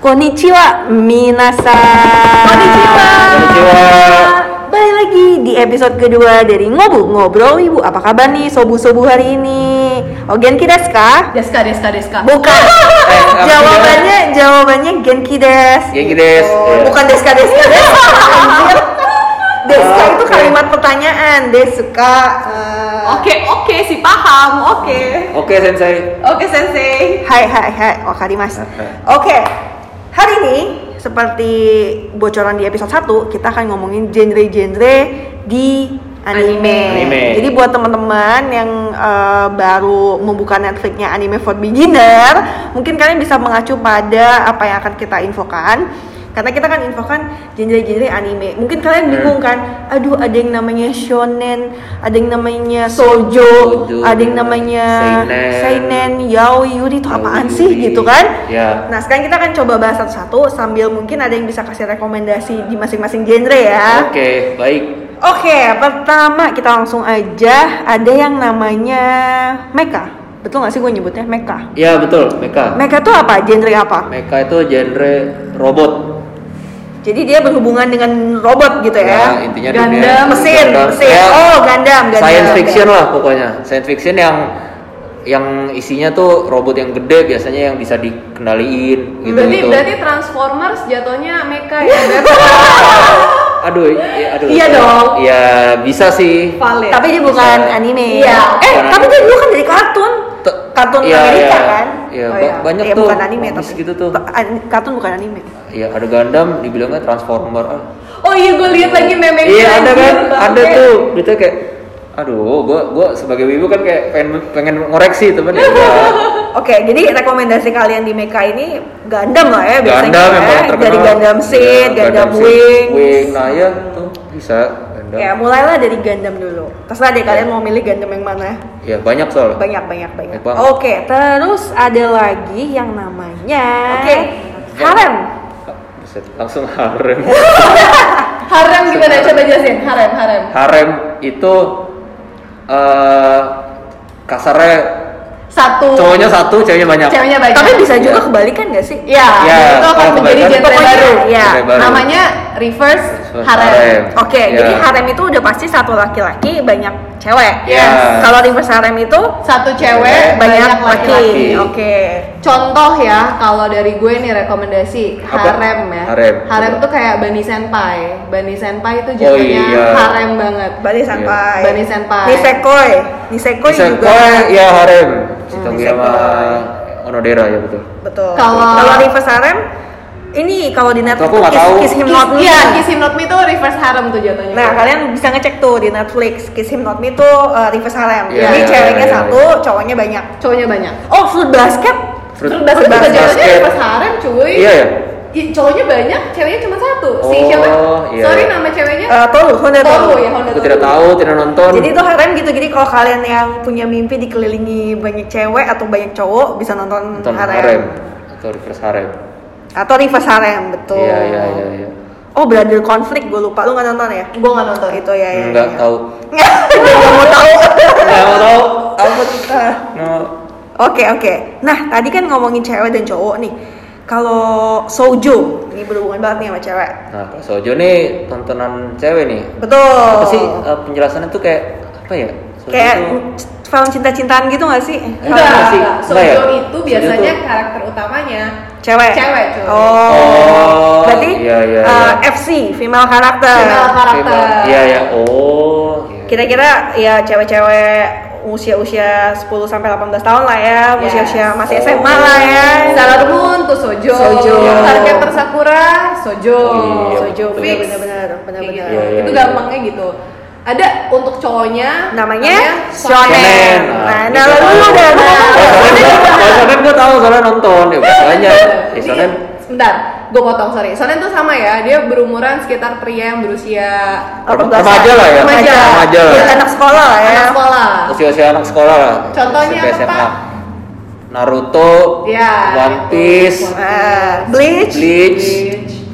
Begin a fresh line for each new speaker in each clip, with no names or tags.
Konnichiwa Minasa
Konnichiwa.
Konnichiwa.
Balik lagi di episode kedua dari Ngobu Ngobrol Ibu Apa kabar nih sobu-sobu hari ini? Ogen kides kah?
Deska, Deska, Deska.
Bukan
Eh, apa
Jawabannya, jawabannya Genki des
Genki des,
Oh,
iya.
Bukan deska deska deska anjir. Deska itu
Oh, Oke.
kalimat pertanyaan Deska eh,
Oke, oke, si paham. Oke.
Oke sensei.
Oke, sensei.
Hai hai hai, wakarimasu. Oke, hari ini seperti bocoran di episode 1 kita akan ngomongin genre-genre di anime.
Anime.
Jadi buat teman-teman yang eh, baru membuka Netflixnya anime for beginner, mungkin kalian bisa mengacu pada apa yang akan kita infokan. Karena kita kan infokan genre-genre anime. Mungkin kalian bingung kan, aduh ada yang namanya shonen, ada yang namanya sojo,
Shoujo.
ada yang namanya
Seinen.
seinen, yaoi, yuri itu apaan
Yaoi,
sih
yuri.
gitu kan?
Ya.
Nah sekarang kita akan coba bahas satu-satu sambil mungkin ada yang bisa kasih rekomendasi di masing-masing genre ya.
Oke, baik.
Oke, pertama kita langsung aja ada yang namanya mecha. Betul nggak sih gue nyebutnya mecha?
Ya betul, Mecha.
Mecha tuh apa? Genre apa?
Mecha itu genre robot.
Jadi dia berhubungan dengan robot gitu ya?
Ya, intinya
Gundam,
dunia-
mesin,
Gundam.
mesin.
Ya,
Oh, Gundam, Gundam.
Science fiction lah pokoknya. Science fiction yang yang isinya tuh robot yang gede biasanya yang bisa dikendaliin gitu
Berarti,
gitu.
berarti Transformers jatuhnya mecha ya? Beb?
Aduh, ya, aduh.
Iya dong.
Iya, bisa sih.
Valid.
Tapi dia bukan
Bisa.
anime.
Iya.
Eh,
Bukan
tapi
anime.
dia dulu kan dari kartun.
Te-
Kartun
iya,
Amerika
iya.
kan?
Iya,
Oh,
ba- banyak
Iya,
tuh.
Bukan anime
Bagus
tapi.
gitu tuh.
Ta- an- kartun bukan anime.
Iya, ada Gundam dibilangnya Transformer. Ah,
Oh iya, gue lihat lagi meme
Iya ada kan, ada tuh. Gitu kayak, aduh, gua gua sebagai wibu kan kayak pengen pengen ngoreksi temen ya. udah.
Oke, jadi rekomendasi kalian di Mecha ini Gundam lah ya biasanya.
Gundam yang
ya.
paling terkenal.
Dari Gundam Seed,
Iya,
Gundam,
Seed,
Wings.
Wing, nah ya tuh bisa Gundam.
Ya, mulailah dari Gundam dulu. Terserah deh kalian mau milih Gundam yang mana.
Iya banyak soalnya.
Banyak, banyak, banyak.
Banyak banget.
Oke, terus ada lagi yang namanya
Oke.
Harem.
Ah, Buset, langsung harem.
Harem gimana? Coba jelasin. Harem, harem.
harem itu eh kasarnya
Satu.
cowoknya satu, ceweknya banyak.
Oh. Ceweknya banyak.
Tapi bisa juga
Iya.
kebalikan gak sih?
Iya,
Iya,
itu akan
kalau
menjadi
kebalikan-
genre
Pokoknya,
baru.
iya.
Genre baru.
Namanya reverse
Reverse
harem.
harem.
Oke,
Iya.
jadi harem itu udah pasti satu laki-laki banyak cewek.
Iya.
Kalau reverse harem itu
Satu cewek,
Banyak
banyak
laki.
laki-laki.
laki.
Oke.
Contoh ya, kalau dari gue nih rekomendasi
Apa?
harem ya.
Harem.
tuh kayak Bani Senpai. Bani Senpai itu
Oh
jadinya
iya.
harem banget.
Bani Senpai.
Iya. Bani Senpai.
Nisekoi. Nisekoi
Bisa
juga.
ya harem.
Hmm,
Citogi sama Onodera ya betul.
Betul.
Kalau-
kalau reverse harem ini kalau di Netflix
Aku nggak
Kiss,
tahu.
Kiss Him
Kiss-
Not Me.
Iya, Kiss Him Not Me tuh reverse harem tuh jatuhnya.
Nah, kalian bisa ngecek tuh di Netflix Kiss Him Not Me tuh uh, reverse harem.
Iya,
Jadi
iya,
ceweknya
iya,
satu, cowoknya banyak.
cowoknya banyak.
Oh, fruit basket.
Fruit
Terus basket juga
basket.
jatuhnya reverse harem cuy.
Iya ya.
Ih, cowoknya banyak, ceweknya cuma satu.
Oh,
si siapa?
iya.
Sorry nama ceweknya.
Eh, Toru, Honda
Toru
Toru.
ya, Honda
Aku
Toru.
tidak tahu, tidak nonton.
Jadi itu harem gitu. Jadi kalau kalian yang punya mimpi dikelilingi banyak cewek atau banyak cowok bisa nonton,
nonton harem.
harem.
atau reverse harem.
Atau reverse harem, betul.
Iya iya iya. iya.
Oh, brother konflik gue lupa. Lu nggak nonton ya?
Gue gak nonton.
Itu ya ya.
Enggak
ya.
Hmm, tahu.
Nggak mau tahu.
Enggak mau tahu. Apa kita? No.
Oke oke. Nah tadi kan ngomongin cewek dan cowok nih. Kalau sojo ini berhubungan banget nih sama cewek.
Nah, Sojo nih tontonan cewek nih.
Betul.
Apa sih eh, penjelasannya tuh kayak apa ya?
Oh.
Sojo
Kayak
tuh-
c- film cinta-cintaan gitu gak sih?
Enggak,
Enggak
enggak.
sih?
Sojo
Enggak ya?
itu
Sojo
biasanya
tuh-
karakter utamanya
Cewek.
Cewek, cuy.
Oh.
Oh,
Berarti
iya, iya,
uh,
iya.
FC female karakter.
Female karakter.
Iya ya. Oh. iya.
Kira-kira ya cewek-cewek usia-usia 10 sampai 18 tahun lah ya,
Yes.
usia-usia masih
Oh.
SMA lah ya.
Sailor Moon tuh Sojo,
Sojo.
Target Sakura Sojo,
Iya,
Sojo
betul.
fix.
Benar-benar,
Kayak
benar-benar.
gitu.
Iya, iya,
itu
iya.
gampangnya gitu. Ada untuk cowoknya
Namanya
shonen.
shonen. Nah, nah, lalu lu udah
Ah, iya. Kalau
nah.
Shonen- kalau Shonen gue tahu soalnya nonton ya biasanya. Ya
Ini-
Shonen
Sebentar, gue potong sorry. Shonen tuh sama ya, dia berumuran sekitar pria yang berusia
18
Remaja lah ya.
Remaja.
Remaja lah.
Ya, anak sekolah lah ya.
anak sekolah.
usia-usia anak sekolah lah. SMP,
Contohnya apa,
SMA.
Pak?
Naruto,
Ya,
One
itu.
Piece,
One
Eh,
Piece.
Nah, Bleach.
Bleach,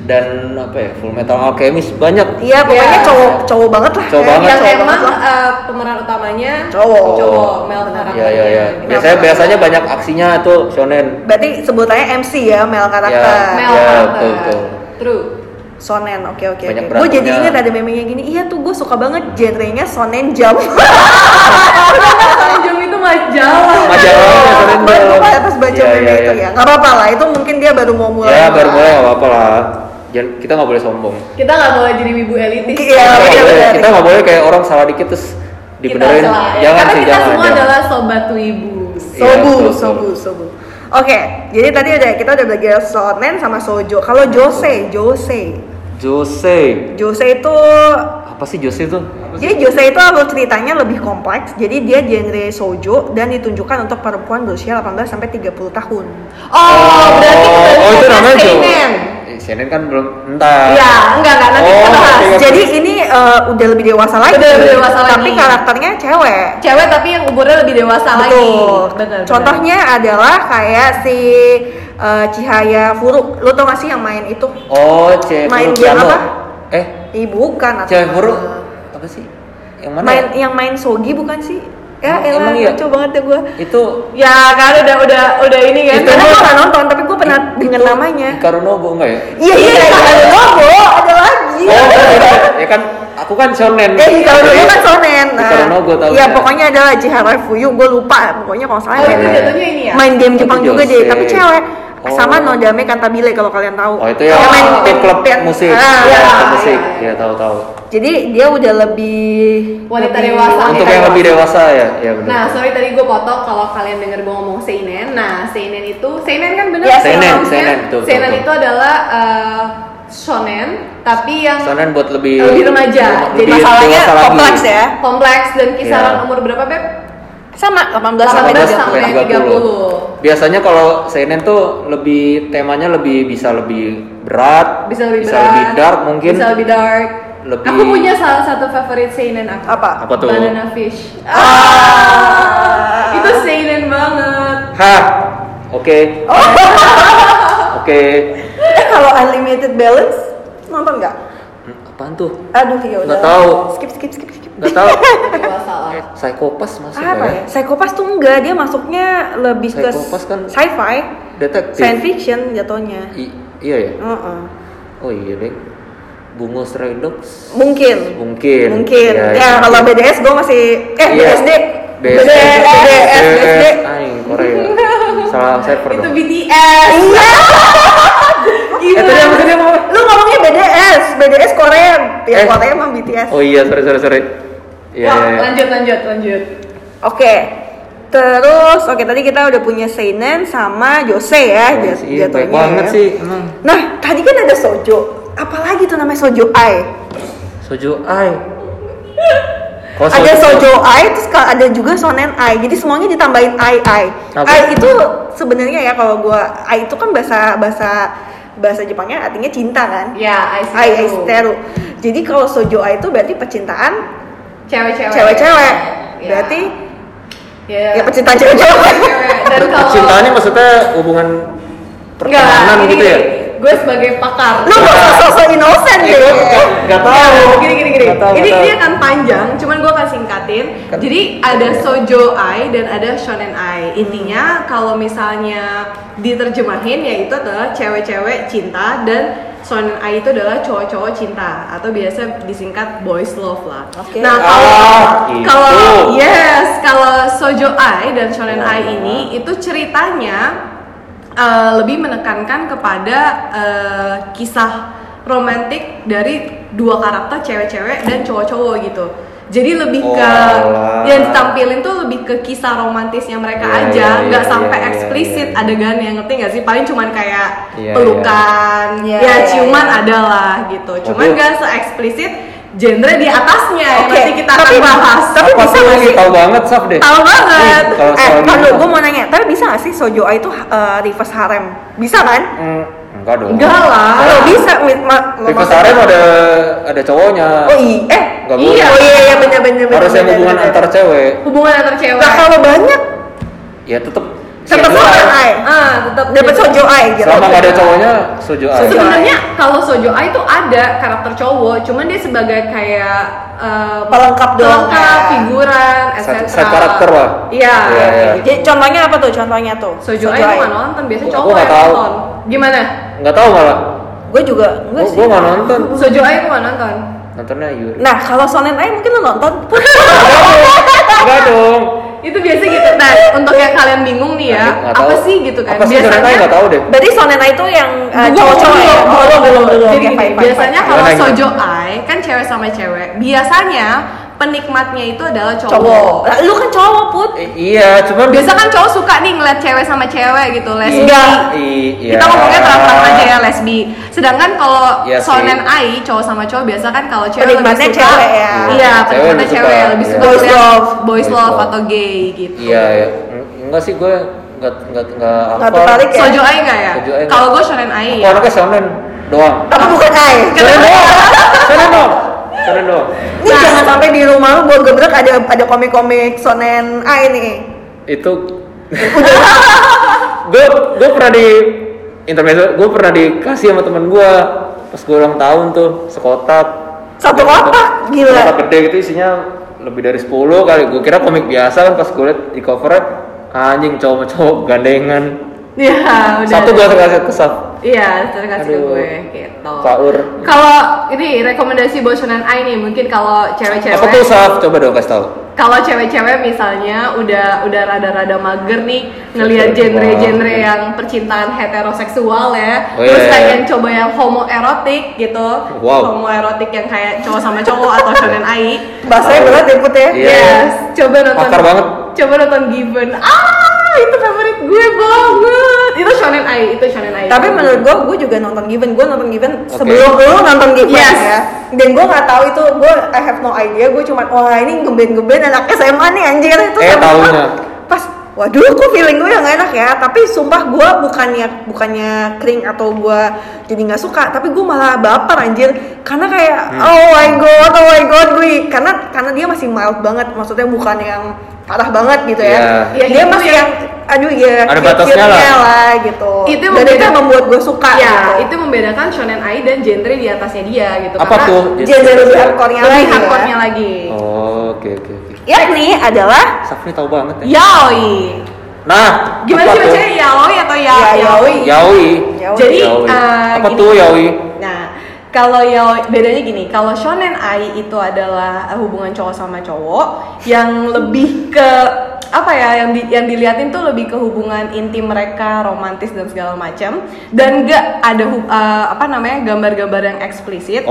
dan apa ya Full Metal Alchemist banyak
Iya, pokoknya
Ya.
cowok cowok banget lah.
Cowok
ya.
banget,
Yang
yang emang
banget lah.
eh, pemeran utamanya
Cowok.
cowok male karakternya.
Iya iya iya. Biasanya biasanya banyak aksinya itu shonen.
Berarti sebutannya MC ya, male karakter.
Iya.
male
Ya,
karakter.
betul, betul.
True.
Sonen, oke oke.
Banyak
oke. Gue jadi
berantemnya.
ingat ada meme yang gini. Iya tuh gue suka banget genrenya sonen jump.
Soalnya Jung itu majalah.
Majalahnya shonen.
Iya. Baru gue
Jump.
pas baca
ya, Iya,
meme
iya,
itu
iya.
ya. Gak apa-apa lah, itu mungkin dia baru mau mulai.
Ya baru mulai nggak apa-apa lah. Jangan, kita nggak boleh sombong.
Kita nggak boleh jadi wibu
Iya,
elitis.
Kita
iya,
nggak boleh-
benar.
kita nggak boleh kayak orang salah dikit terus dibenerin.
Kita salah. iya.
Jangan
Karena
sih
kita
jangan.
semua
jangan.
adalah sobat wibu.
Iya,
Sobu,
betul,
sobu,
betul.
sobu. Oke, jadi tadi udah kita udah belajar sonen sama sojo. Kalau jose, jose,
Jose.
jose itu
Apa sih Jose tuh?
jadi jose itu alur ceritanya lebih kompleks. Jadi dia genre sojo dan ditunjukkan untuk perempuan berusia 18 sampai 30 tahun.
Oh, berarti
oh, oh, itu
kebanyakan
namanya Jo.
seinen.
Eh, Shonen kan belum entar.
Iya, enggak enggak nanti
Oh,
kita bahas.
oke.
Jadi ini eh, udah lebih dewasa lagi.
Udah lebih dewasa
tapi
lagi.
karakternya cewek.
Cewek tapi yang umurnya lebih dewasa lagi.
Betul.
Benar, benar.
Contohnya adalah kayak si eh, Cahaya Furu. Lo tau gak sih yang main itu?
Oh, Cewek
Main game apa?
Eh,
Ih, bukan. atau-
Cewek Furu apa sih? Yang mana?
main
ya?
yang main sogi bukan sih ya elah
Emang iya?
lucu banget ya gue
Itu
ya kan udah udah udah ini kan.
karena gue gak nonton tapi gue pernah dengar namanya
Karunobo enggak ya?
iya iya iya ada logo ada lagi
Oh, bener. ya kan aku kan shonen.
eh kalau dulu kan sonen
iya. Di Karunobo tahu.
iya
kan?
pokoknya adalah Jihara Fuyu gue lupa pokoknya kalau salah
Oh, itu
main-
jatuhnya ini ya.
main game
Itu
Jepang juga
Jose.
deh tapi cewek
Oh.
sama Nodame Kantabile kalau kalian tahu
Oh, itu yang
Yang main
klub, klub
band.
musik.
Ah,
ya,
iya.
klub musik.
iya, iya.
Ya, tahu tahu.
jadi dia udah lebih
Wanita
lebih-
dewasa.
wanita
Untuk yang lebih dewasa ya, ya benar.
Nah, sorry tadi gue potong kalau kalian denger gue ngomong seinen. Nah, seinen itu seinen kan bener
Ya,
Iya,
sih
seinen,
ngomongnya.
seinen, betul, betul,
Seinen
betul.
itu adalah eh, shonen tapi yang
Shonen buat lebih
Lebih remaja. Jadi
lebih
masalahnya
dewasa lagi.
kompleks ya
kompleks dan kisaran
Iya.
umur berapa, Beb?
sama 18 sampai 30.
18 sampai 30.
Biasanya kalau seinen tuh lebih temanya lebih bisa lebih berat,
Bisa lebih
bisa
berat.
lebih dark mungkin.
Bisa lebih dark.
Lebih-
Aku punya salah satu favorit seinen aku.
apa
Apa tuh?
Banana fish.
Ah.
Itu seinen banget.
Hah. Oke. Oke.
Eh kalau unlimited balance nonton nggak?
Hmm, Apaan tuh?
Aduh ya udah.
Nggak tahu.
Skip skip skip skip.
Nggak tahu.
Dewasa lah.
Eh, Psikopas masuk
Apa
nggak
ya? Psikopas tuh enggak, dia masuknya lebih ke
Psikopas kan-
sci-fi,
Detektif.
science fiction jatuhnya.
I- iya ya.
Heeh.
Oh iya deh. Bungo Stray Dogs.
Mungkin.
Mungkin.
Mungkin.
Iya,
ya
iya.
kalau BDS gue masih eh
Iya.
BSD.
BSD.
BDS, BDS, BSD.
Ay, Korea. Salah server
Itu
dong.
BTS.
Iya.
Eh, tadi apa tadi apa?
Lu ngomongnya BDS, BDS Korea. Ya
Eh.
Korea emang BTS.
Oh iya, sorry sorry sorry. Iya,
Wah,
iya, iya.
Eh,
lanjut lanjut lanjut.
Oke. Terus oke tadi kita udah punya seinen sama Jose ya jat- jatuhnya.
Iya, baik banget
ya.
sih. Emang.
Nah, tadi kan ada sojo. Apalagi tuh namanya sojo ai.
Soju ai. Kok
ada sojo ai, terus ka- ada juga sonen ai. Jadi semuanya ditambahin ai ai.
Apa?
Ai itu sebenarnya ya kalau gua ai itu kan bahasa bahasa bahasa Jepangnya artinya cinta kan.
Ya, I see.
Ai ai
you.
steru. Jadi kalau sojo ai itu berarti percintaan
Cewek-cewek.
cewek-cewek.
Ya.
Berarti
ya,
ya percintaan cewek-cewek.
cewek. Dan kalau
Cintaannya maksudnya hubungan pertemanan gitu ya?
Gue sebagai pakar.
Lu gak usah sosok innocent
Eh,
deh.
gua nggak- nggak tahu.
Gini gini gini.
Nggak tahu,
ini
nggak
ini
tahu.
akan panjang, cuman gue akan singkatin.
Kan-
Jadi ada sojo ai dan ada shonen ai. Intinya kalau misalnya diterjemahin yaitu adalah cewek-cewek cinta dan shonen ai itu adalah cowok-cowok cinta atau biasa disingkat boys love lah.
Oke.
Nah, kalau
Ah,
iya,
kalau
itu.
yes, kalau Sojo Ai dan Shonen
Iya.
Ai ini itu ceritanya eh, lebih menekankan kepada eh, kisah romantik dari dua karakter cewek-cewek dan cowok-cowok gitu. Jadi lebih ke
Olah.
yang ditampilin tuh lebih ke kisah romantisnya mereka
Iya,
aja,
iya,
nggak
iya,
sampai
iya, iya,
eksplisit
iya.
adegan yang ngerti nggak sih? Paling cuman kayak
Iya,
pelukan,
iya.
ya
Iya, iya,
ciuman
iya.
ada lah gitu. Cuman
Waduh.
nggak se-eksplisit genre di atasnya yang
Oke,
Iya, nanti kita akan
tapi-
bahas.
tapi
Pas
bisa nggak
lagi
sih?
tahu banget Saf deh.
Tahu banget.
Ih, Kalau
eh,
soal
kalau
gitu.
gue mau nanya, tapi bisa gak sih sojo ai itu eh, reverse harem? Bisa kan?
Hmm, enggak dong.
Enggak lah.
Kalau bisa, mi- ma, ma-
Reverse
maksudnya-
harem ada ada cowoknya.
Oh iya, eh
Nggak
iya,
boleh.
oh iya, iya benar benar.
Harus yang hubungan antar cewek.
Hubungan antar cewek.
Nah kalau banyak,
Ya tetep
Tetap
Kedua,
sama ai.
ah tetap
Dapat sojo ai gitu.
Selama gak ada cowoknya, sojo aja.
Sojo.
sebenarnya kalau sojo ai itu ada karakter cowok cuman dia sebagai kayak eh,
Pelengkap doang, Iya.
pelengkap,
kayak.
figuran etc
Satu- satu karakter lah.
iya
Iya,
kayak
iya.
gitu.
Jadi contohnya apa tuh? Contohnya tuh.
sojo ai itu nggak nonton biasanya
Aku
cowok
nggak
yang
tahu.
nonton gimana
Nggak tahu malah.
Gue juga enggak
Gue
sih.
gue nggak nonton.
sojo ai aku nggak nonton
Nontonnya
Iya.
Yuri.
Nah, kalau Sonen Ai mungkin lo nonton.
Enggak dong.
itu biasa gitu nah untuk yang kalian bingung nih ya
Nggak tahu.
apa sih gitu kan
Apa sih ternyata nggak tahu deh.
Berarti Sonen Ai itu yang eh,
Belum,
cowok-cowok ya?
belum,
Oh,
belum, belum, belum.
Oke,
Jadi
fine,
gini,
fine,
biasanya
fine.
fine.
kalau
Gimana,
sojo ai kan cewek sama cewek biasanya penikmatnya itu adalah cowok,
cowok. Lah, Lu kan cowok, Put.
Eh, iya, cuman
biasa kan cowok suka nih ngeliat cewek sama cewek gitu lesbi
Enggak.
Iya.
kita ngomongnya terang-terang aja ya lesbi sedangkan kalau
Iya sih.
sonen ai cowok sama cowok biasa kan kalau cewek
Penikmatnya
lebih suka
cewek ya.
iya
Cewek
penikmatnya
lebih
cewek
suka.
lebih
Iya.
suka
Boys
ngeliat
love.
boys
Boys
love
love.
atau gay gitu
Iya, iya. Enggak sih gue enggak enggak enggak
Nggak tertarik ya?
sojo ai nggak ya Iya.
Sojo ai nggak.
kalau gue sonen ai ya.
Aku anaknya shonen doang.
Tapi bukan Ai.
Shonen doang. Shonen doang. Shonen doang.
Ini jangan sampai di rumah lu buat gebrek ada ada komik-komik Sonen Ai nih.
Itu gue gue pernah di intermezzo gue pernah dikasih sama temen gue pas gue ulang tahun tuh sekotak
Satu
Gitu.
kotak, gila.
kotak gede gitu isinya lebih dari 10 kali gue kira komik biasa kan pas gue liat di covernya anjing cowok cowok gandengan
iya udah
satu gue kasih kesat
Iya, terima kasih ke
Aduh.
gue gitu.
Saur.
Kalau ini rekomendasi bocoran I nih, mungkin kalau cewek-cewek
apa tuh saf coba dong kasih tau
kalau cewek-cewek misalnya udah udah rada-rada mager nih ngelihat
Seksual.
genre-genre yang percintaan heteroseksual ya,
Oh, iya,
terus
iya,
pengen
iya.
coba yang homoerotik gitu,
Wow.
homoerotik yang kayak cowok sama cowok atau shonen ai.
Bahasanya berat ya, Put ya.
Iya.
Yes, coba nonton.
Pakar banget.
Coba nonton Given. Ah, itu favorit gue banget. Itu shonen ai, itu shonen ai.
Tapi menurut gue, gue juga nonton Given. Gue nonton Given sebelum lu nonton Given
Yes.
ya. Dan gue nggak tahu itu, gue I have no idea. Gue cuma wah ini geben-geben anak SMA nih anjir itu.
Eh,
sama gua
taunya.
Pas Waduh, kok feeling gue yang gak enak ya. Tapi sumpah gue bukannya bukannya kering atau gue jadi nggak suka, tapi gue malah baper anjir. Karena kayak
Hmm.
oh my god, oh my god, gue karena karena dia masih mild banget. Maksudnya bukan yang parah banget gitu ya.
Iya. Iya,
Dia
itu
masih
yang-
yang, aduh ya
Ada
cute-cute-nya
batasnya lah.
lah gitu.
Itu
Dan
mungkin-
itu yang membuat gue suka.
ya
gitu.
itu membedakan shonen ai dan genre di atasnya dia gitu
apa
karena
tuh
Genre lebih hardcore-nya
lebih
lagi.
hardcore-nya
ya.
lagi
oh oke oke oke
Yakni adalah
saf ini tahu banget ya
yaoi
nah
Iya. gimana
apa tuh?
sih
Iya,
bacanya yaoi atau ya,
Ya,
yaoi
yaoi.
yaoi
Yaoi.
Jadi,
Yaoi.
eh,
apa
gini.
tuh yaoi
nah kalau yaoi bedanya gini kalau shonen ai itu adalah eh, hubungan cowok sama cowok yang lebih ke apa ya yang di- yang diliatin tuh lebih ke hubungan intim mereka romantis dan segala macam dan gak ada hu- eh, apa namanya gambar-gambar yang eksplisit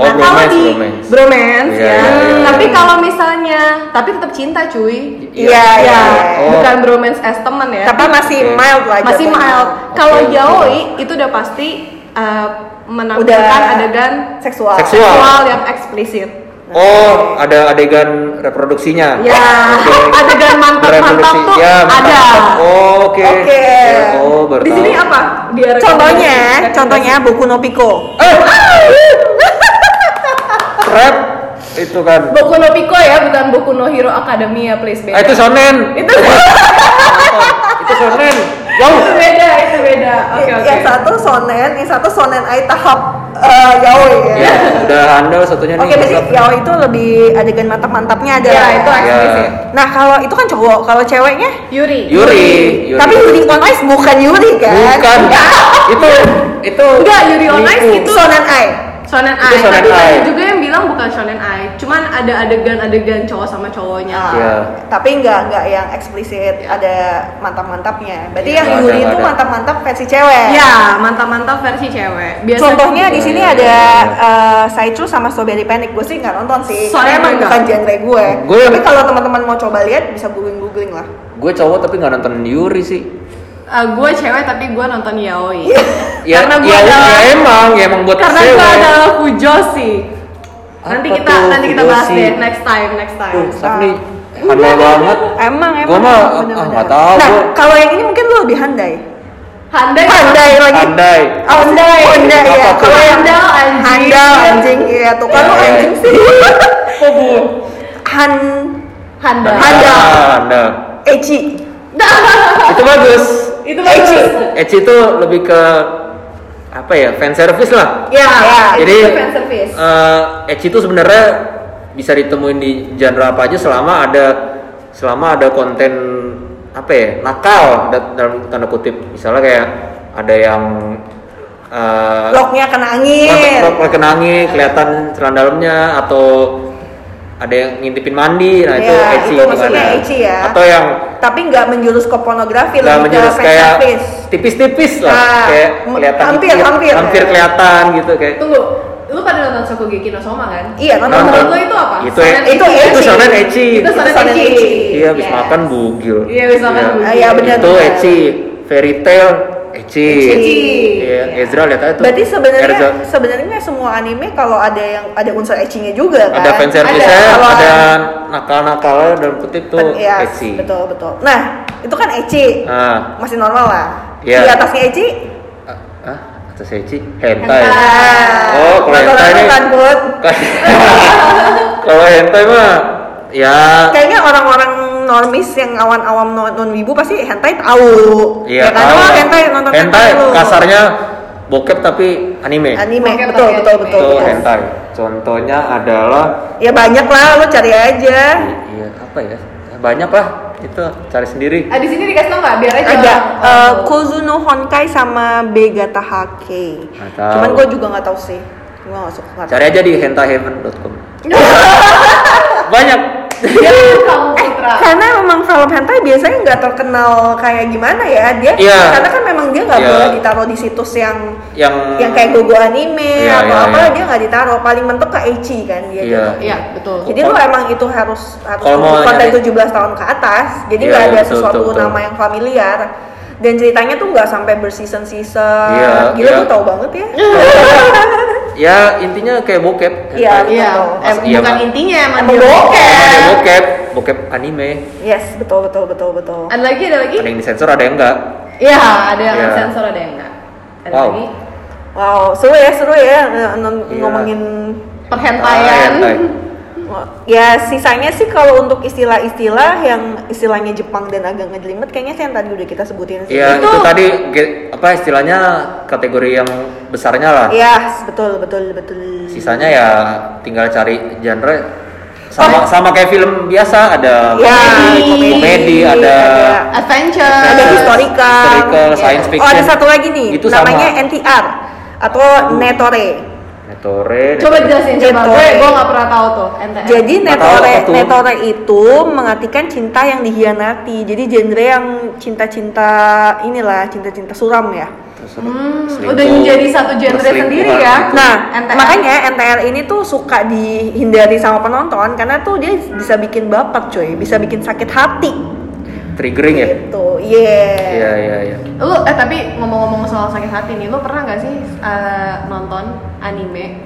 Oh,
nah kalau
bromance,
di
bromance.
bromance
Iya,
ya
iya, iya.
tapi kalau misalnya tapi tetap cinta cuy
Iya,
ya,
iya.
Oh.
bukan bromance as teman ya
tapi masih
Oke.
mild lah.
masih
jatuhnya.
mild kalau
Oke.
yaoi itu udah pasti uh,
Udah
menampilkan adegan
seksual.
Seksual.
seksual yang eksplisit
Oh, ada adegan reproduksinya.
Ya,
Oke.
adegan mantap-mantap
Reproduksi.
tuh
Ya,
ada.
mantap. Oh, oke.
Oke.
Ya, Oh, baru
Di sini
tahu.
apa? Dia
Contohnya,
rekomendasi-
contohnya buku no Pico.
Eh. Rap itu kan.
Boku no Pico ya, bukan Boku no Hero Academia, please
Ah,
beda.
itu shonen.
itu
itu shonen. Jauh.
itu beda, itu beda.
Iya,
Oke, oke.
Eh, Yang satu sonen, yang satu sonen ai tahap eh, yaoi ya.
Ya, udah handal satunya
Oke,
nih.
berarti yaoi itu lebih adegan mantap-mantapnya ada.
Ya, itu
Ya.
eksplisit.
Nah, kalau itu kan cowok, kalau ceweknya
Yuri. ya.
Yuri. Yuri.
Tapi Yuri on Ice bukan Yuri kan?
bukan. itu itu
Enggak, Yuri on Ice gitu.
nipu.
Itu sonen ai.
Shonen
Itu
Ai,
shonen
tapi
ai.
ada juga yang bilang bukan Shonen Ai, cuman ada adegan-adegan cowok sama cowoknya.
Ah,
Iya.
Tapi nggak nggak yang eksplisit ada mantap-mantapnya. Berarti
Iya,
yang
nggak ada,
Yuri
nggak
itu
ada.
mantap-mantap versi cewek.
Ya, mantap-mantap versi cewek. Biasanya gitu.
Contohnya di sini
Iya,
ada
iya,
eh, Saichu sama Strawberry Panic. Gue sih nggak nonton sih. Soalnya
Soalnya
emang
gue
bukan
nggak.
genre gue.
Gue-
Tapi kalau teman-teman mau coba lihat bisa googling googling lah.
Gue cowok tapi nggak nonton Yuri sih.
gue Eh, cewek tapi gue nonton yaoi.
Ya,
karena gue
ya,
adalah
ya emang, ya emang buat
karena
cewek.
gue adalah fujoshi. Nanti
Apa
kita
tuh
nanti kita bahas
fujoshi?
deh next time next time.
Tuh, Saf nih handal banget.
Emang emang.
Gua mah,
bener-bener.
ah, nggak tahu,
Nah
gua.
kalau yang ini mungkin lu lebih handai.
Handai
Handai lagi.
Handai.
Handai. Handai ya.
Apa tuh?
Kalau yang
Handal, anjing.
handal anjing ya tuh kan lu
Iya, iya.
anjing sih.
Kok bu?
Han
handai.
Handal.
Handal.
Echi.
Itu bagus.
Itu
Ecchi.
bagus.
Ecchi itu lebih ke apa ya? Fan service lah.
Ya,
Ya,
itu
Jadi
fan service.
eh, Ecchi itu sebenarnya bisa ditemuin di genre apa aja selama ada selama ada konten apa ya? Nakal da- dalam tanda kutip. Misalnya kayak ada yang eh,
Loknya kena angin.
Rok rok kenangi kelihatan celana dalamnya atau ada yang ngintipin mandi nah itu
Iya,
ecchi
itu maksudnya
gimana.
ecchi ya.
atau yang
Tapi nggak menjurus ke pornografi lebih
nggak
ke
menjurus
fan
kayak
service.
tipis-tipis lah
Ah,
kayak
m-
kelihatan
hampir,
dikit,
hampir.
kelihatan gitu kayak
Tunggu, lu pada nonton Shokugeki no Soma kan?
Iya, nonton.
Menurut lu itu apa?
Itu-
Shonen
itu
ecchi.
ecchi.
itu shonen ecchi
Itu shonen
Itu shonen
ecchi.
ecchi.
iya habis
Yes.
makan bugil
Iya, habis makan bugil.
Ah, iya, benar,
itu
benar.
ecchi fairy tail ecchi
Ecchi.
Iya,
Iya.
Ezra lihat aja tuh
Berarti sebenarnya
Erza.
sebenarnya semua anime kalau ada yang ada unsur etchingnya juga kan.
ada fan service
Ada.
ada,
Kalau
ada nakal-nakalnya dalam kutip tuh
Iya,
ecchi
betul betul. Nah, itu kan ecchi.
ah
Masih normal lah.
Iya.
Di atasnya ecchi?
Ah, ah, atau seci hentai.
Hentai.
Oh, kalau hentai
Nonton-nonton
nih.
kan, Bud?
kalau hentai mah ya
Kayaknya orang-orang normis yang awan-awam non wibu pasti hentai tahu.
iya
kan?
tahu.
Oh, hentai nonton
hentai
dulu.
kasarnya bokep tapi anime.
anime.
Oke,
Betul,
pakai
betul,
anime.
betul,
Itu
betul.
hentai. Contohnya adalah
Ya banyak lah, lo cari aja.
iya apa ya? Banyak lah itu cari sendiri.
Ah, di sini dikasih tau nggak? Biar
Iya.
aja.
Ada
orang-
eh,
orang tahu.
Kozuno Honkai sama Begata Hake.
Nggak tahu.
Cuman gue juga nggak tahu sih. Gue nggak suka nggak tahu.
Cari aja di hentaiheaven.com. Banyak.
Iya, kamu Citra.
Karena memang film hentai biasanya nggak terkenal kayak gimana ya dia.
Iya.
Karena kan memang dia nggak
Iya.
boleh ditaruh di situs yang
Yang
yang kayak gogo anime
Iya,
atau
iya,
apa
iya.
dia nggak ditaruh paling mentok ke ecchi kan dia
Iya.
jatuh.
Iya, betul.
jadi lu emang itu harus harus
Kalau mau
konten
nyari-
17 tahun ke atas jadi
Iya,
nggak ada
betul,
sesuatu
betul, betul.
nama yang familiar dan ceritanya tuh nggak sampai berseason season
Iya,
gila
iya.
tuh tau banget ya
ya intinya kayak bokep.
Iya,
hentai.
Iya,
Mas-
em,
iya,
bukan
Mak.
intinya emang
Emang
dia
bokep.
Ada bokep, bokep anime.
yes betul betul betul betul
Ada lagi, ada lagi.
ada yang disensor ada yang enggak
Iya, ada yang
Iya.
sensor, ada yang enggak. Ada
Wow.
lagi.
wow seru ya seru ya n- n-
Iya.
ngomongin
Perhentaian.
Ah, hentai.
ya sisanya sih kalau untuk istilah-istilah yang istilahnya Jepang dan agak ngejelimet kayaknya sih yang tadi udah kita sebutin sih
Iya itu
Betul.
tadi ge- apa istilahnya kategori yang besarnya lah
Iya.
Yes, betul betul betul.
sisanya ya tinggal cari genre sama sama kayak film biasa ada
Iya.
Ya,
komedi,
komedi,
komedi,
Iya,
ada
ada-
Adventure.
ada
Yes.
Nah, historical,
Eh, historical,
Iya.
science
Oh, ada
fiction.
satu lagi nih,
Itu
namanya
sama.
NTR atau Netore.
netore
iya. Coba jelasin coba.
Gitu.
Gue gue nggak pernah tahu tuh. NTR.
Jadi
Nggak
Netore
tahu, betul.
Netore itu mengartikan cinta yang dihianati. Jadi genre yang cinta-cinta inilah, cinta-cinta suram ya.
Terus ada
Hmm,
selingkuh,
udah menjadi satu genre
perselingkuhan
sendiri ya.
gitu.
Nah,
NTR.
makanya NTR ini tuh suka dihindari sama penonton karena tuh dia bisa bikin baper, cuy, bisa bikin sakit hati
triggering ya
gitu. Yeah.
iya iya iya
Lu eh tapi ngomong-ngomong soal sakit hati nih, lu pernah nggak sih eh, nonton anime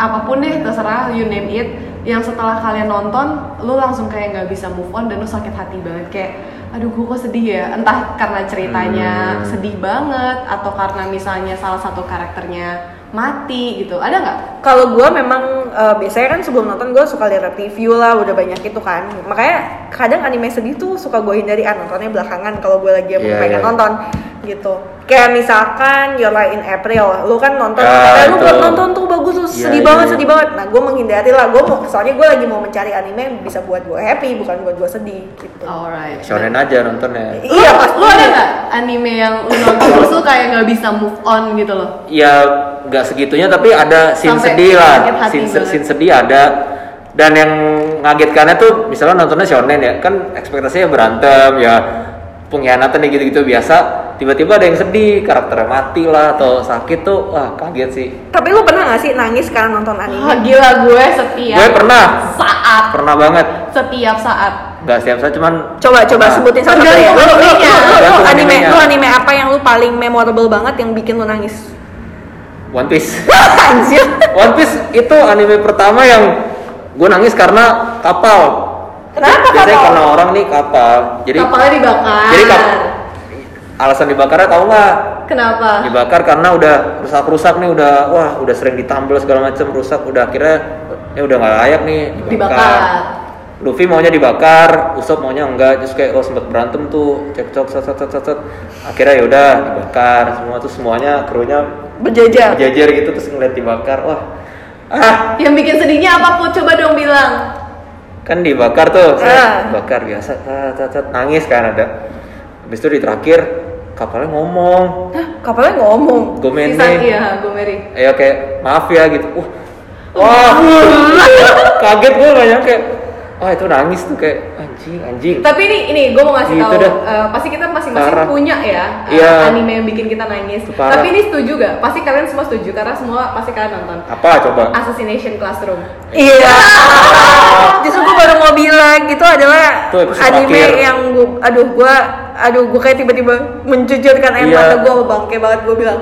apapun deh terserah you name it yang setelah kalian nonton lu langsung kayak nggak bisa move on dan lu sakit hati banget kayak aduh gua kok sedih ya entah karena ceritanya
Hmm.
sedih banget atau karena misalnya salah satu karakternya mati gitu ada nggak
Kalau gue memang eh, biasanya kan sebelum nonton gue suka lihat review lah, udah banyak itu kan. Makanya kadang anime sedih tuh suka gue hindari ah nontonnya belakangan kalau gue lagi emang
Iya,
pengen
iya.
nonton gitu. Kayak misalkan Your Lie in April, lu kan nonton,
Ah,
eh, lu
itu.
buat nonton tuh bagus tuh
Iya,
sedih
iya,
banget,
iya.
sedih banget. Nah gue menghindari lah, gue mau soalnya gue lagi mau mencari anime yang bisa buat gue happy, bukan buat gue sedih gitu.
alright
shonen aja nontonnya
Iya pasti.
lu ada nggak anime yang lu nonton terus lu kayak nggak bisa move on gitu loh
ya nggak segitunya tapi ada scene
Sampai
sedih lah
sakit hati
scene,
banget.
scene sedih ada dan yang ngagetkannya tuh misalnya nontonnya shonen ya kan ekspektasinya berantem ya pengkhianatan ya gitu-gitu biasa tiba-tiba ada yang sedih karakternya mati lah atau sakit tuh wah kaget sih
Tapi lu pernah gak sih nangis karena nonton anime?
Wah, gila gue setiap
gue pernah
saat
pernah banget
setiap saat
nggak siap saya cuman
Coba coba
Nah.
sebutin satu
Tergantung
kali ya. Lu, lu, lu, lu-
animenya.
lu
Tergantung
anime,
animenya.
lu anime apa yang lu paling memorable banget yang bikin lu nangis?
One Piece
Anjir.
One Piece itu anime pertama yang gue nangis karena kapal
Kenapa
biasanya
kapal?
karena orang nih kapal jadi
kapalnya dibakar
jadi kap
Ah.
alasan dibakarnya tahu nggak
kenapa
dibakar karena udah rusak-rusak nih udah wah udah sering ditambal segala macam rusak udah akhirnya ya udah nggak layak nih
Dibakar.
Luffy maunya dibakar, Usopp maunya enggak, terus kayak oh sempet berantem tuh, cekcok, set, set, set, set, set. akhirnya yaudah dibakar, semua tuh semuanya krunya
Ya.
berjajar
jajar gitu terus ngeliat dibakar, wah ah
Yang bikin sedihnya apa Put? Coba dong bilang.
kan dibakar tuh
Ah.
bakar biasa tat, tat, tat, nangis kan ada habis itu di terakhir kapalnya ngomong
Hah, kapalnya ngomong
gomene
Sisa- iya, Gomeri.
ya kayak maaf ya gitu uh,
Oh,
wah kaget gue banyak kayak wah itu nangis tuh kayak anjing anjing
Tapi ini ini gue mau ngasih
Gitu
tahu
dah.
eh, pasti kita masing-masing
Parah.
punya ya eh,
Iya.
anime yang bikin kita nangis.
Itu parah.
Tapi ini setuju gak? Pasti kalian semua setuju karena semua pasti kalian nonton.
apa coba
Assassination Classroom.
Iya. Justru gue baru mau bilang itu adalah
Itu episode
anime
terakhir.
yang gua, aduh gue, aduh gue kayak tiba-tiba menjujurkan air
Iya.
mata gue bangke banget gue bilang.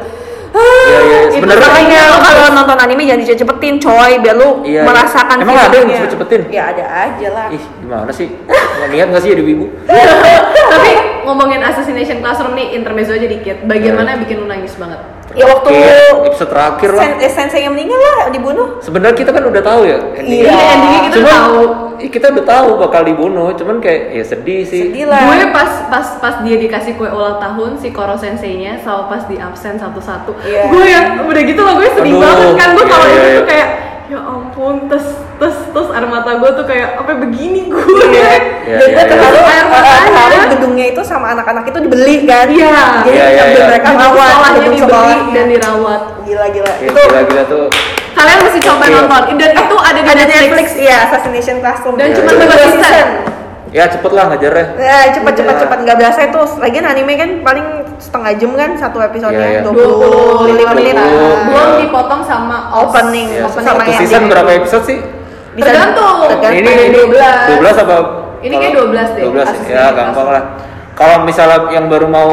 "Ah,
Iya, iya.
itu
Sebenarnya-
makanya lo kalau nonton anime jangan dicepet-cepetin coy biar lu
Iya, iya.
merasakan
Emang ada yang
feelingnya.
dicepet-cepetin? Iya,
Ya ada aja lah.
ih gimana sih nggak niat nggak sih jadi ibu
Tapi ngomongin Assassination Classroom nih intermezzo aja dikit. Bagian
Iya.
mana yang bikin lu nangis banget?
Ya waktu
Kayak episode terakhir lah
sen eh, sensei yang meninggal lah dibunuh.
sebenarnya kita kan udah tahu ya endingnya.
Iya.
endingnya kita
Cuman,
tahu.
ih, kita udah tahu bakal dibunuh cuman kayak ya sedih sih
Sedih lah.
Gue pas pas pas dia dikasih kue ulang tahun si Koro senseinya sama pas di absen satu-satu.
Iya.
Gue yang udah gitu loh gue sedih
Aduh,
banget kan gue
iya,
kalau
iya,
itu
iya.
tuh kayak ya ampun tes tes tes air mata gue tuh kayak apa begini gue.
Iya,
Dan
iya,
gue
iya.
terharu
Air matanya.
terharu kan? gedungnya itu sama anak-anak itu dibeli kan.
Iya.
Jadi
Iya, iya,
sambil
iya.
mereka
Gedung
rawat
Kan sekolahnya
gedung
dibeli
sekolahnya.
dan dirawat.
Gila gila.
Ya,
Itu
gila-gila tuh
Kalian mesti coba
Iya.
nonton dan itu ada di
ada
Netflix.
Netflix, iya Assassination Classroom
Dan
Iya,
cuma
iya.
dua
Dua
season.
ya cepet lah ngajarnya
Ya, cepet cepet
Iya.
cepet nggak biasa itu. Lagian anime kan paling setengah jam kan satu episodenya
Iya, iya.
dua puluh
25
lima menit. Nah,
menit.
Dua.
Belum dipotong sama os.
Opening,
Ya,
opening
satu
sama ending.
season berapa episode sih?
Bisa-
Tergantung.
tergantung.
Ini- ada 12.
12 apa?
Ini kayak 12 deh,
12
kasus
ya,
ini,
gampang
kasus.
lah. Kalau misalnya yang baru mau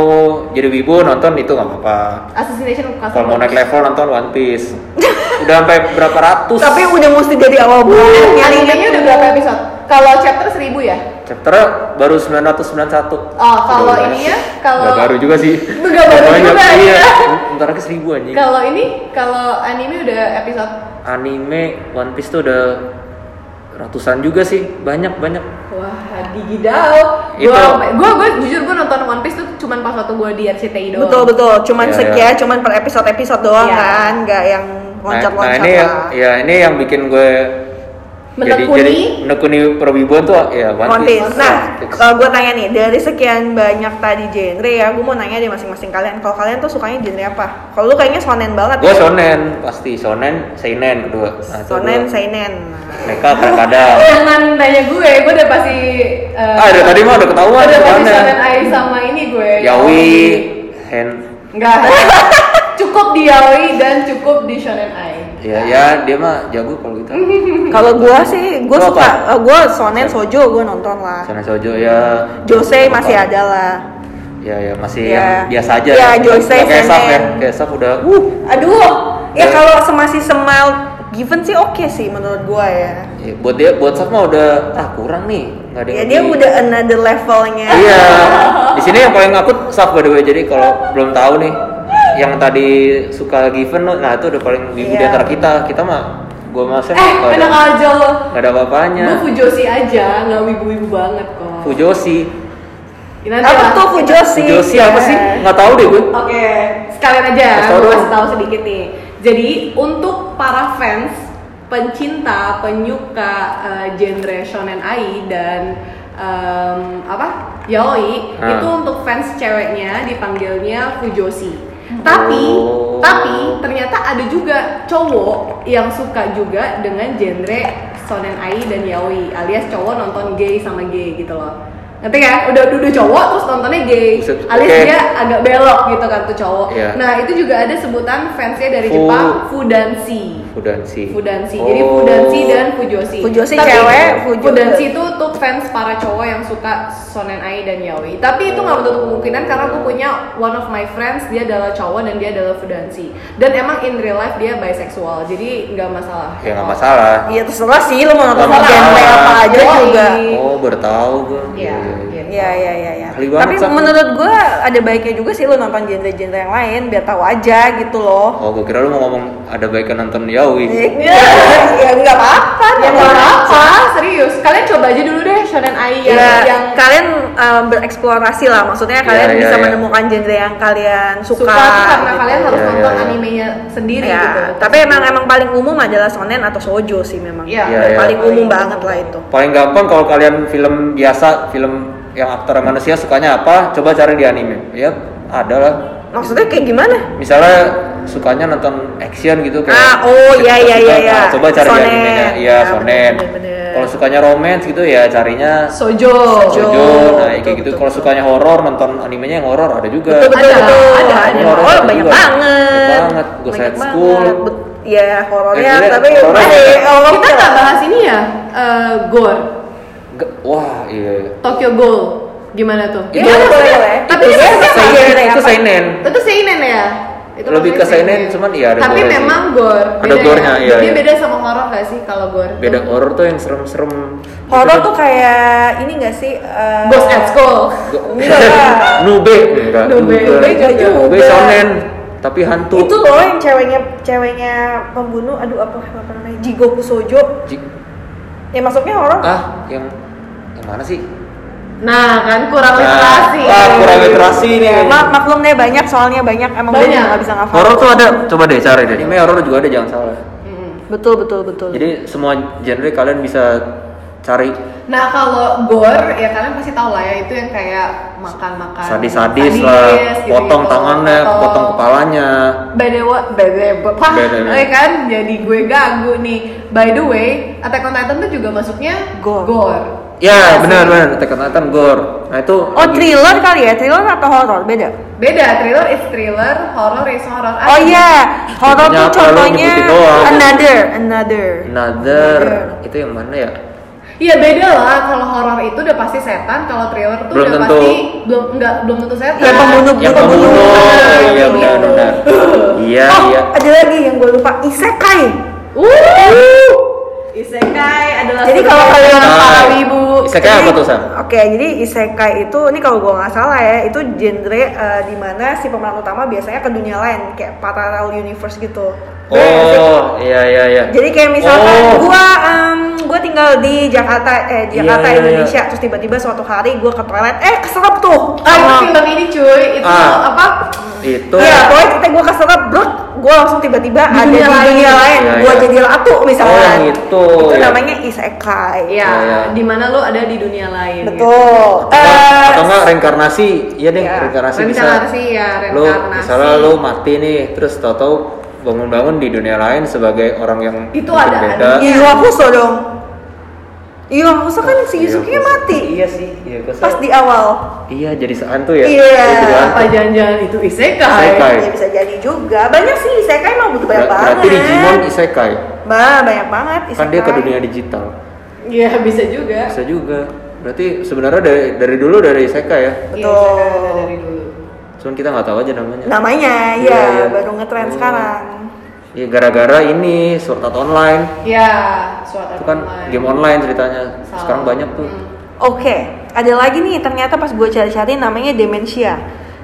jadi wibu nonton itu nggak apa-apa.
Assassination
Kalau
Classroom.
mau naik level nonton One Piece. Udah sampai berapa ratus?
Tapi udah mesti dari awal kan? banget nyari
Iya, Animenya udah berapa episode? Kalau chapter 1000 ya?
Chapter baru 991.
Oh, kalau
Udah
ini ya,
berapa?
kalau-
Nggak baru juga sih.
Nggak baru
Banyak,
juga,
iya.
iya.
Ntar lagi 1000 anjing.
Kalau ini, kalau anime udah episode
Anime One Piece tuh udah ratusan juga sih, banyak banyak.
Wah, digidau.
Itu.
Gua, gua, gua jujur gua nonton One Piece tuh cuman pas waktu gua di RCTI doang.
Betul betul. Cuman
Iya,
sekian, cuman per episode episode doang
Iya.
kan, nggak yang loncat
nah,
loncat
ini yang,
lah.
ya ini yang bikin gue
Menekuni.
jadi menekuni perwibuan tuh ya
One Piece. Nah,
One Piece.
kalau gue tanya nih dari sekian banyak tadi genre ya, gue mau nanya deh masing-masing kalian. Kalau kalian tuh sukanya genre apa? Kalau lu kayaknya shonen banget. ya.
gue shonen pasti shonen seinen kedua nah, itu
Shonen,
dua.
seinen.
mereka kadang-kadang
Jangan nanya gue, gue udah pasti eh,
Ah, dari tadi mah udah ketahuan
Udah pasti
soalnya.
shonen ai sama ini gue
yaoi hen
Enggak Cukup di yaoi dan cukup di shonen ai
ya ya dia mah jago kalau gitu
Kalau gue sih, gue
Lu apa?
suka, gue shonen sojo gue nonton lah.
shonen sojo ya
Jose
Apa?
masih ada lah.
ya ya masih
Ya.
yang biasa aja
Ya, Jose,
Nggak kayak sap ya
seinen.
kayak sap udah uh
Uh, aduh. Ya
Ya.
kalau semasih semal given sih oke sih menurut gua ya.
ya, buat dia buat sap mah udah ah kurang nih nggak ada
Ya
yang
dia
di-
udah another levelnya.
Iya. Di sini yang paling ngakut Saf by the way. Jadi kalau belum tahu nih yang tadi suka given nah itu udah paling ibu di
Iya.
antara kita. Kita mah gua masa
Eh, enak
ada,
aja lo
nggak ada apa-apanya.
Gue fujoshi aja, nggak wibu-wibu banget kok
Fujoshi.
Ya, Nanti
Apa
lah.
tuh Fujoshi?
Fujoshi apa sih?
Ya.
iya.
Nggak tahu deh gue.
Oke, sekalian aja
Kasih tau
gue
dong.
kasih tahu sedikit nih. Jadi untuk para fans, pencinta, penyuka eh, genre shonen ai dan em, apa yaoi
Ah.
itu untuk fans ceweknya dipanggilnya fujoshi. Tapi
Oh.
tapi ternyata ada juga cowok yang suka juga dengan genre shonen ai dan yaoi alias cowok nonton gay sama gay gitu loh. Ngerti kan? Udah udah cowok terus nontonnya gay.
Buset,
alias
oke.
dia agak belok gitu kan tuh cowok.
Iya.
Nah itu juga ada sebutan fansnya dari
Fu- Oh.
Jepang Fudansi.
Fudansi.
Fudansi. Jadi Fudansi dan Fujoshi.
Fujoshi
Tapi,
cewek, Fujo-
Fudansi itu untuk fans para cowok yang suka shonen ai dan yaoi. Tapi itu nggak menutup kemungkinan karena aku punya one of my friends dia adalah cowok dan dia adalah Fudansi. Dan emang in real life dia bisexual. Jadi nggak masalah.
Ya nggak masalah.
Iya terserah sih lu mau nonton
Nggak
genre
masalah.
apa aja
Yoi.
juga.
Oh baru tahu gue.
Iya, iya.
Iya iya iya iya.
Ahli banget,
Tapi
Sak.
menurut gua ada baiknya juga sih lu nonton genre-genre yang lain biar tahu aja gitu loh.
Oh gue kira lu mau ngomong ada baiknya nonton Yaoi.
Iya.
Iya, ya enggak apa-apa.
Ya
nggak
nggak apa-apa, serius. Kalian coba aja dulu deh shonen ai yang,
Ya,
yang
kalian um, bereksplorasi lah maksudnya
Iya,
kalian
iya,
bisa
iya.
menemukan genre yang kalian
suka,
suka,
tuh karena
gitu.
kalian harus
Iya, iya,
nonton
iya.
animenya sendiri
Ya,
gitu.
tapi emang emang paling umum adalah shonen atau shoujo sih memang
Iya,
Iya, iya.
paling umum banget lah itu
Paling gampang kalau kalian film biasa, film yang aktor manusia sukanya apa, coba cari di anime. Ya, ada lah.
maksudnya kayak gimana
Misalnya sukanya nonton action gitu kayak
Ah, oh, iya, iya, iya,
Nah,
iya.
coba cari di
Shonen.
animenya. Iya,
Ya,
shonen.
bener, bener.
Kalau sukanya romance gitu ya carinya
Sojo.
Sojo.
Jojo, nah kayak
betul,
gitu.
betul,
Kalau
betul.
sukanya horor nonton animenya yang horor ada juga.
betul betul
Ada,
betul.
ada, ada.
horor
Horor
Oh, banyak
juga.
banget
Banyak banget. Ghost
Banyak
Head School.
banget. Bet- ya horornya
Eh,
tapi
horor.
Eh, horor
Kita nggak bahas ini ya, eh, gore,
Ge- Wah, iya. iya.
Tokyo Ghoul, gimana tuh?
Iya,
Gimana
boleh,
sih?
boleh.
Tapi
Itu
itu
saya
siapa?
Apa?
Seinen, itu
Apa?
seinen.
Itu seinen ya? Itu
Lebih
maksudnya
ke seinen, cuman iya ada
Tapi
gore-nya.
memang gore.
Ada
beda ya?
gore-nya, iya,
Dia
iya.
beda sama horor nggak sih kalau gore? tuh?
Beda horor tuh yang serem-serem.
horor tuh kayak ini nggak sih eh,
Ghost at School.
Enggak lah.
Nube enggak.
Nube.
Nube juga.
Nube shonen, tapi hantu.
itu loh yang ceweknya ceweknya pembunuh aduh apa apa namanya Jigoku Sojo
Ji-
ya masuknya horor
ah, yang yang mana sih?
Nah kan kurang literasi.
Nah, ah, kurang literasi nih.
Ya, ma- maklum deh banyak soalnya banyak emang gue
Banyak.
juga nggak bisa ngafal
Horor tuh ada, coba deh cari deh. Anime horor juga ada, jangan salah.
Mm.
betul betul betul
Jadi semua genre kalian bisa cari
Nah kalau gore ya kalian pasti tahu lah ya itu yang kayak makan-makan.
sadis-sadis
Ah, sadis,
lah,
gitu-gitu,
potong tangannya, potong kepalanya.
By the way, by the way, pah,
By the way.
eh kan jadi gue gagu nih. By the way, Attack on Titan tuh juga masuknya
Gore.
Ya, benar benar Attack on Titan gore. Nah, itu
oh thriller kali ya thriller atau horor beda
Beda, thriller is thriller, horror is horror. Ah,
oh iya horor
Contohnya
tuh
apa? Lu
contohnya
nyebutin doang.
another another
Another itu yang mana ya?
Iya beda lah kalau horor itu udah pasti setan, kalau thriller tuh
Belum
udah
tentu.
pasti belum enggak belum tentu setan.
Ya, pembunuh,
Yang
pembunuh.
pembunuh.
Nah,
Iya
gitu.
benar benar. Iya
oh
iya.
ada lagi yang gue lupa isekai
Uh. Isekai adalah
Jadi kalau
sebuah-
kalian-
Ah. para
Nah,
wibu.
Isekai apa tuh Sam?
Oke, jadi isekai itu ini kalau gue nggak salah ya, itu genre eh, di dimana si pemeran utama biasanya ke dunia lain, kayak parallel universe gitu.
Oh iya iya iya.
Jadi kayak misalkan
Oh.
gua em, gua tinggal di Jakarta eh Jakarta
Iya, iya,
Indonesia terus tiba-tiba suatu hari gua ke toilet eh keserap tuh.
Ah, itu film ini cuy, itu
Ah.
apa?
itu
Iya, pokoknya ketika gua keserap brut, gua langsung tiba-tiba
Di
ada
dunia
di
lain.
dunia lain.
Iya,
gua
iya.
jadi ratu
Oh,
misalnya.
yang itu.
Itu
ya.
namanya isekai.
Ya,
Iya, iya.
di mana lu ada di dunia lain. gitu.
Betul.
Atau-
Eh,
atau enggak reinkarnasi iya deh
Iya.
reinkarnasi,
Reinkarnasi,
bisa
ya,
lu
reinkarnasi.
misalnya lu mati nih terus tau-tau bangun-bangun di dunia lain sebagai orang yang
Itu
mungkin
ada-
beda
ada.
Iya, Hakuso dong. Iya, Hakuso kan si Yusuke mati
iya sih iya gua
pas
salah.
di awal.
iya jadi seantu ya
Iya.
Iya, jadi hantu.
Apa jangan-jangan itu isekai?
Isekai.
Ya bisa jadi juga. Banyak sih isekai emang butuh banyak
Iya. Ber- berarti
banget.
Digimon isekai
Bah, banyak banget isekai.
kan dia ke dunia digital
Iya, bisa juga.
bisa juga berarti sebenarnya dari dari dulu dari isekai ya
Iya,
Betul.
isekai ada dari dulu.
cuman kita nggak tahu aja namanya
Namanya
Iya,
ya,
iya.
baru ngetren
Oh.
sekarang.
iya gara-gara ini surat online
Ya, suatu
itu kan game online ceritanya sekarang banyak tuh
Hmm.
Oke, ada lagi nih ternyata pas gue cari-cari namanya Demensia.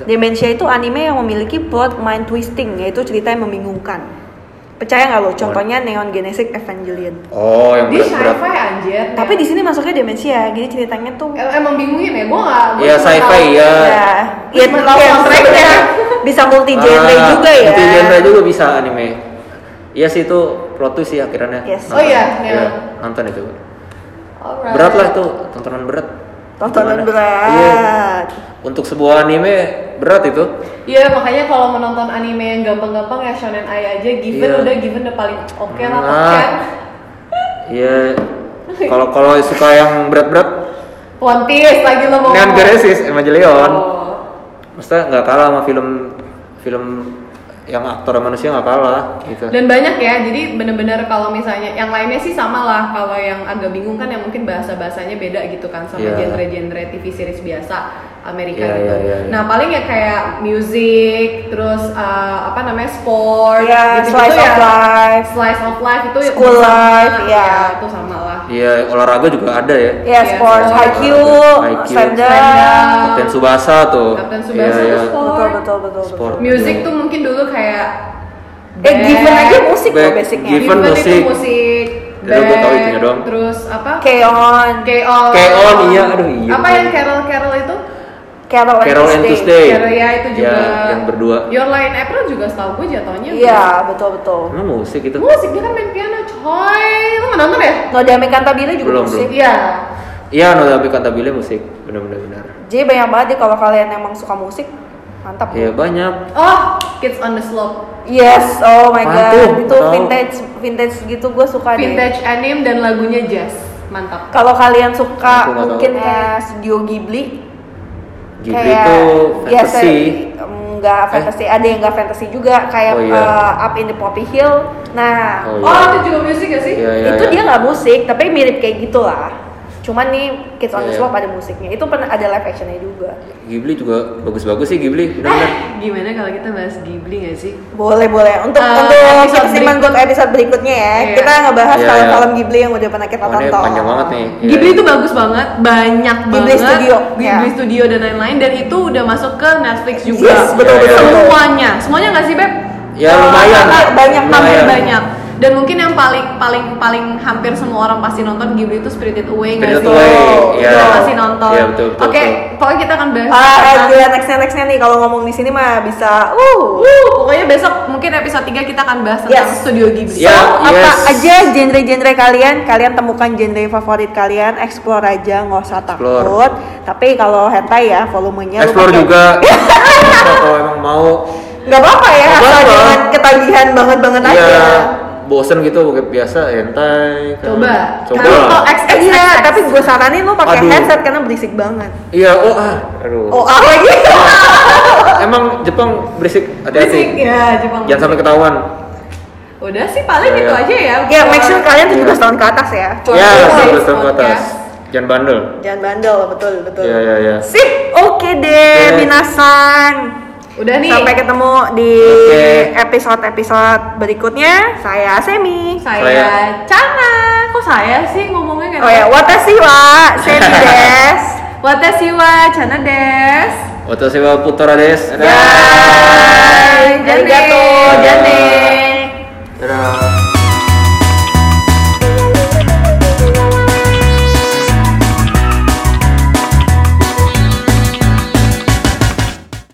Demensia itu anime yang memiliki plot mind twisting yaitu cerita yang membingungkan. Percaya nggak lo? Contohnya Neon Genesis Evangelion.
oh yang
Di
berat-berat
sci-fi anjir.
Tapi di sini masuknya demensia, jadi ceritanya tuh
Em- emang bingungin ya, gue nggak. gua
Iya,
cuma
sci-fi,
tahu. Iya.
iya.
ya, ya,
Cuma tahu
ya,
soundtracknya.
bisa multi genre
Ah,
juga ya.
Multi genre juga bisa anime. Iya sih itu plot twist sih akhirnya.
Yes.
Oh iya,
Iya,
iya.
nonton itu.
Alright.
Berat lah itu, tontonan berat.
Tontonan
Gimana?
berat.
Iya. Untuk sebuah anime berat itu.
Iya makanya kalau menonton anime yang gampang-gampang ya shonen ai aja given
Iya.
udah given udah paling oke lah
Nah.
top
Iya. Kalau kalau suka yang berat-berat,
10 One Piece lagi lo mau
Neon
ngomong.
Genesis Evangelion.
Oh.
Maksudnya nggak kalah sama film film yang aktor manusia nggak kalah gitu.
Dan banyak ya, jadi bener-bener kalau misalnya yang lainnya sih sama lah Kalau yang agak bingung kan yang mungkin bahasa-bahasanya beda gitu kan Sama
Iya.
genre-genre TV series biasa Amerika
Iya,
gitu
iya, iya, iya.
Nah paling ya kayak music, terus eh, apa namanya sport ya.
Iya, slice of life.
Slice of life itu ya
School
sama,
life, iya.
itu sama lah
Iya, olahraga juga ada
Ya,
ya.
Iya,
sports,
sports.
IQ,
IQ.
standar.
Slam dunk.
Kapten Subasa tuh.
Kapten Tsubasa
Iya,
tuh
iya.
sport.
Betul, betul, betul. betul.
Sport. iya.
Music tuh mungkin dulu kayak
Eh, given
band.
aja musik loh
Back,
basicnya.
given.
Given itu
musik.
musik
Itu gue tahu itunya doang.
terus apa?
Keon,
Keon.
Keon, iya, aduh, iya.
Apa yang Carol Carol itu?
Carol,
Carol and Tuesday.
Carol ya itu
Ya,
juga.
yang berdua.
Your Line April juga setahu gue jatuhnya.
Iya, betul betul.
Emang musik itu?
Musik dia kan main piano, coy. Lu nggak nonton ya?
Noda Mekantabile kan juga
Belum,
musik.
Iya.
Iya, no tapi kantabile musik, benar-benar benar.
Jadi banyak banget deh kalau kalian emang suka musik, mantap.
Ya banyak.
Oh, Kids on the Slope.
Yes, oh my
Mantap,
god, itu
tau.
vintage vintage gitu gue suka deh.
Vintage anime dan lagunya jazz. Mantap.
Kalau kalian
Aku
suka
nggak
mungkin
Eh.
kayak studio Ghibli,
Ghibli itu
ya,
fantasy. Eh.
se- nggak fantasy, ada yang nggak fantasy juga kayak
Oh, iya.
uh, Up in the Poppy Hill. Nah,
Oh,
Oh,
iya.
itu juga musik gak sih? Eh,
Iya, iya,
itu
iya.
dia nggak musik, tapi mirip kayak gitulah. Cuman nih Kids on the
Iya.
Slope ada musiknya. Itu pernah ada live actionnya juga.
Ghibli juga bagus-bagus sih Ghibli, benar-benar.
Eh, Gimana kalau kita bahas Ghibli gak sih?
Boleh boleh. Untuk
Eh,
untuk
episode
Seniman
berikut-
Good episode berikutnya ya,
Iya.
kita ngebahas
Iya,
film-film Ghibli yang udah pernah kita
Oh, ini
tonton.
panjang banget nih. Iya,
Ghibli
iya.
itu bagus banget, banyak
Ghibli
banget
Studio,
Ghibli
ya.
Studio dan lain-lain dan itu udah masuk ke Netflix juga.
Yes, betul
Iya, iya,
betul.
iya.
Semuanya, semuanya nggak sih Beb?
Ya,
Eh,
lumayan.
hampir banyak, hampir
Lumayan.
banyak. Dan mungkin yang paling paling paling hampir semua orang pasti nonton Ghibli itu Spirited Away nggak
Spirited
sih?
Away,
Itu
iya.
pasti nonton.
Iya, betul, betul,
Oke,
betul.
pokoknya kita akan bahas.
Ah, eh,
tentang-
gila nextnya nextnya nih kalau ngomong di sini mah bisa. Uh.
Wuh, pokoknya besok mungkin episode 3 kita akan bahas tentang
Yes.
Studio Ghibli.
So,
Ya,
apa
yes.
aja genre-genre kalian, kalian temukan genre favorit kalian, explore aja, nggak usah takut.
Explore.
Tapi kalau hentai ya, volumenya lu
Explore
pakai-
juga. Kalau emang mau
Nggak apa-apa ya,
Nggak
asal
apa-apa.
jangan ketagihan banget-banget
iya
ya.
aja.
bosen gitu kayak biasa hentai kan.
Coba. Nah, oh,
coba
Kalau
lah.
kok X,
Eh,
X,
Iya,
X, X.
tapi gue saranin lu pakai
Aduh.
headset karena berisik banget.
iya oh ah aduh
Oh, ah lagi.
emang Jepang berisik
oh, Berisik,
hati-hati
ya, Jepang.
jangan sampai ketahuan
Udah sih paling
Iya.
itu aja ya.
ya, make sure kalian 17 tahun ke atas ya.
For
ya
this
sampai setahun ke atas
podcast.
jangan bandel
Jangan bandel, betul, betul.
ya ya ya
Sip, oke deh,
Oke.
minasan.
Udah nih.
Sampai ketemu di
Oke.
episode-episode berikutnya. Saya Semi.
saya
Saya.
Chana. Kok saya sih ngomongnya kayak
Oh ya, watashi wa Semi des.
Watashi wa Chana des. Ya.
Otosewa Putora des. Dadah.
Bye.
Jane.
Arigato, Jane.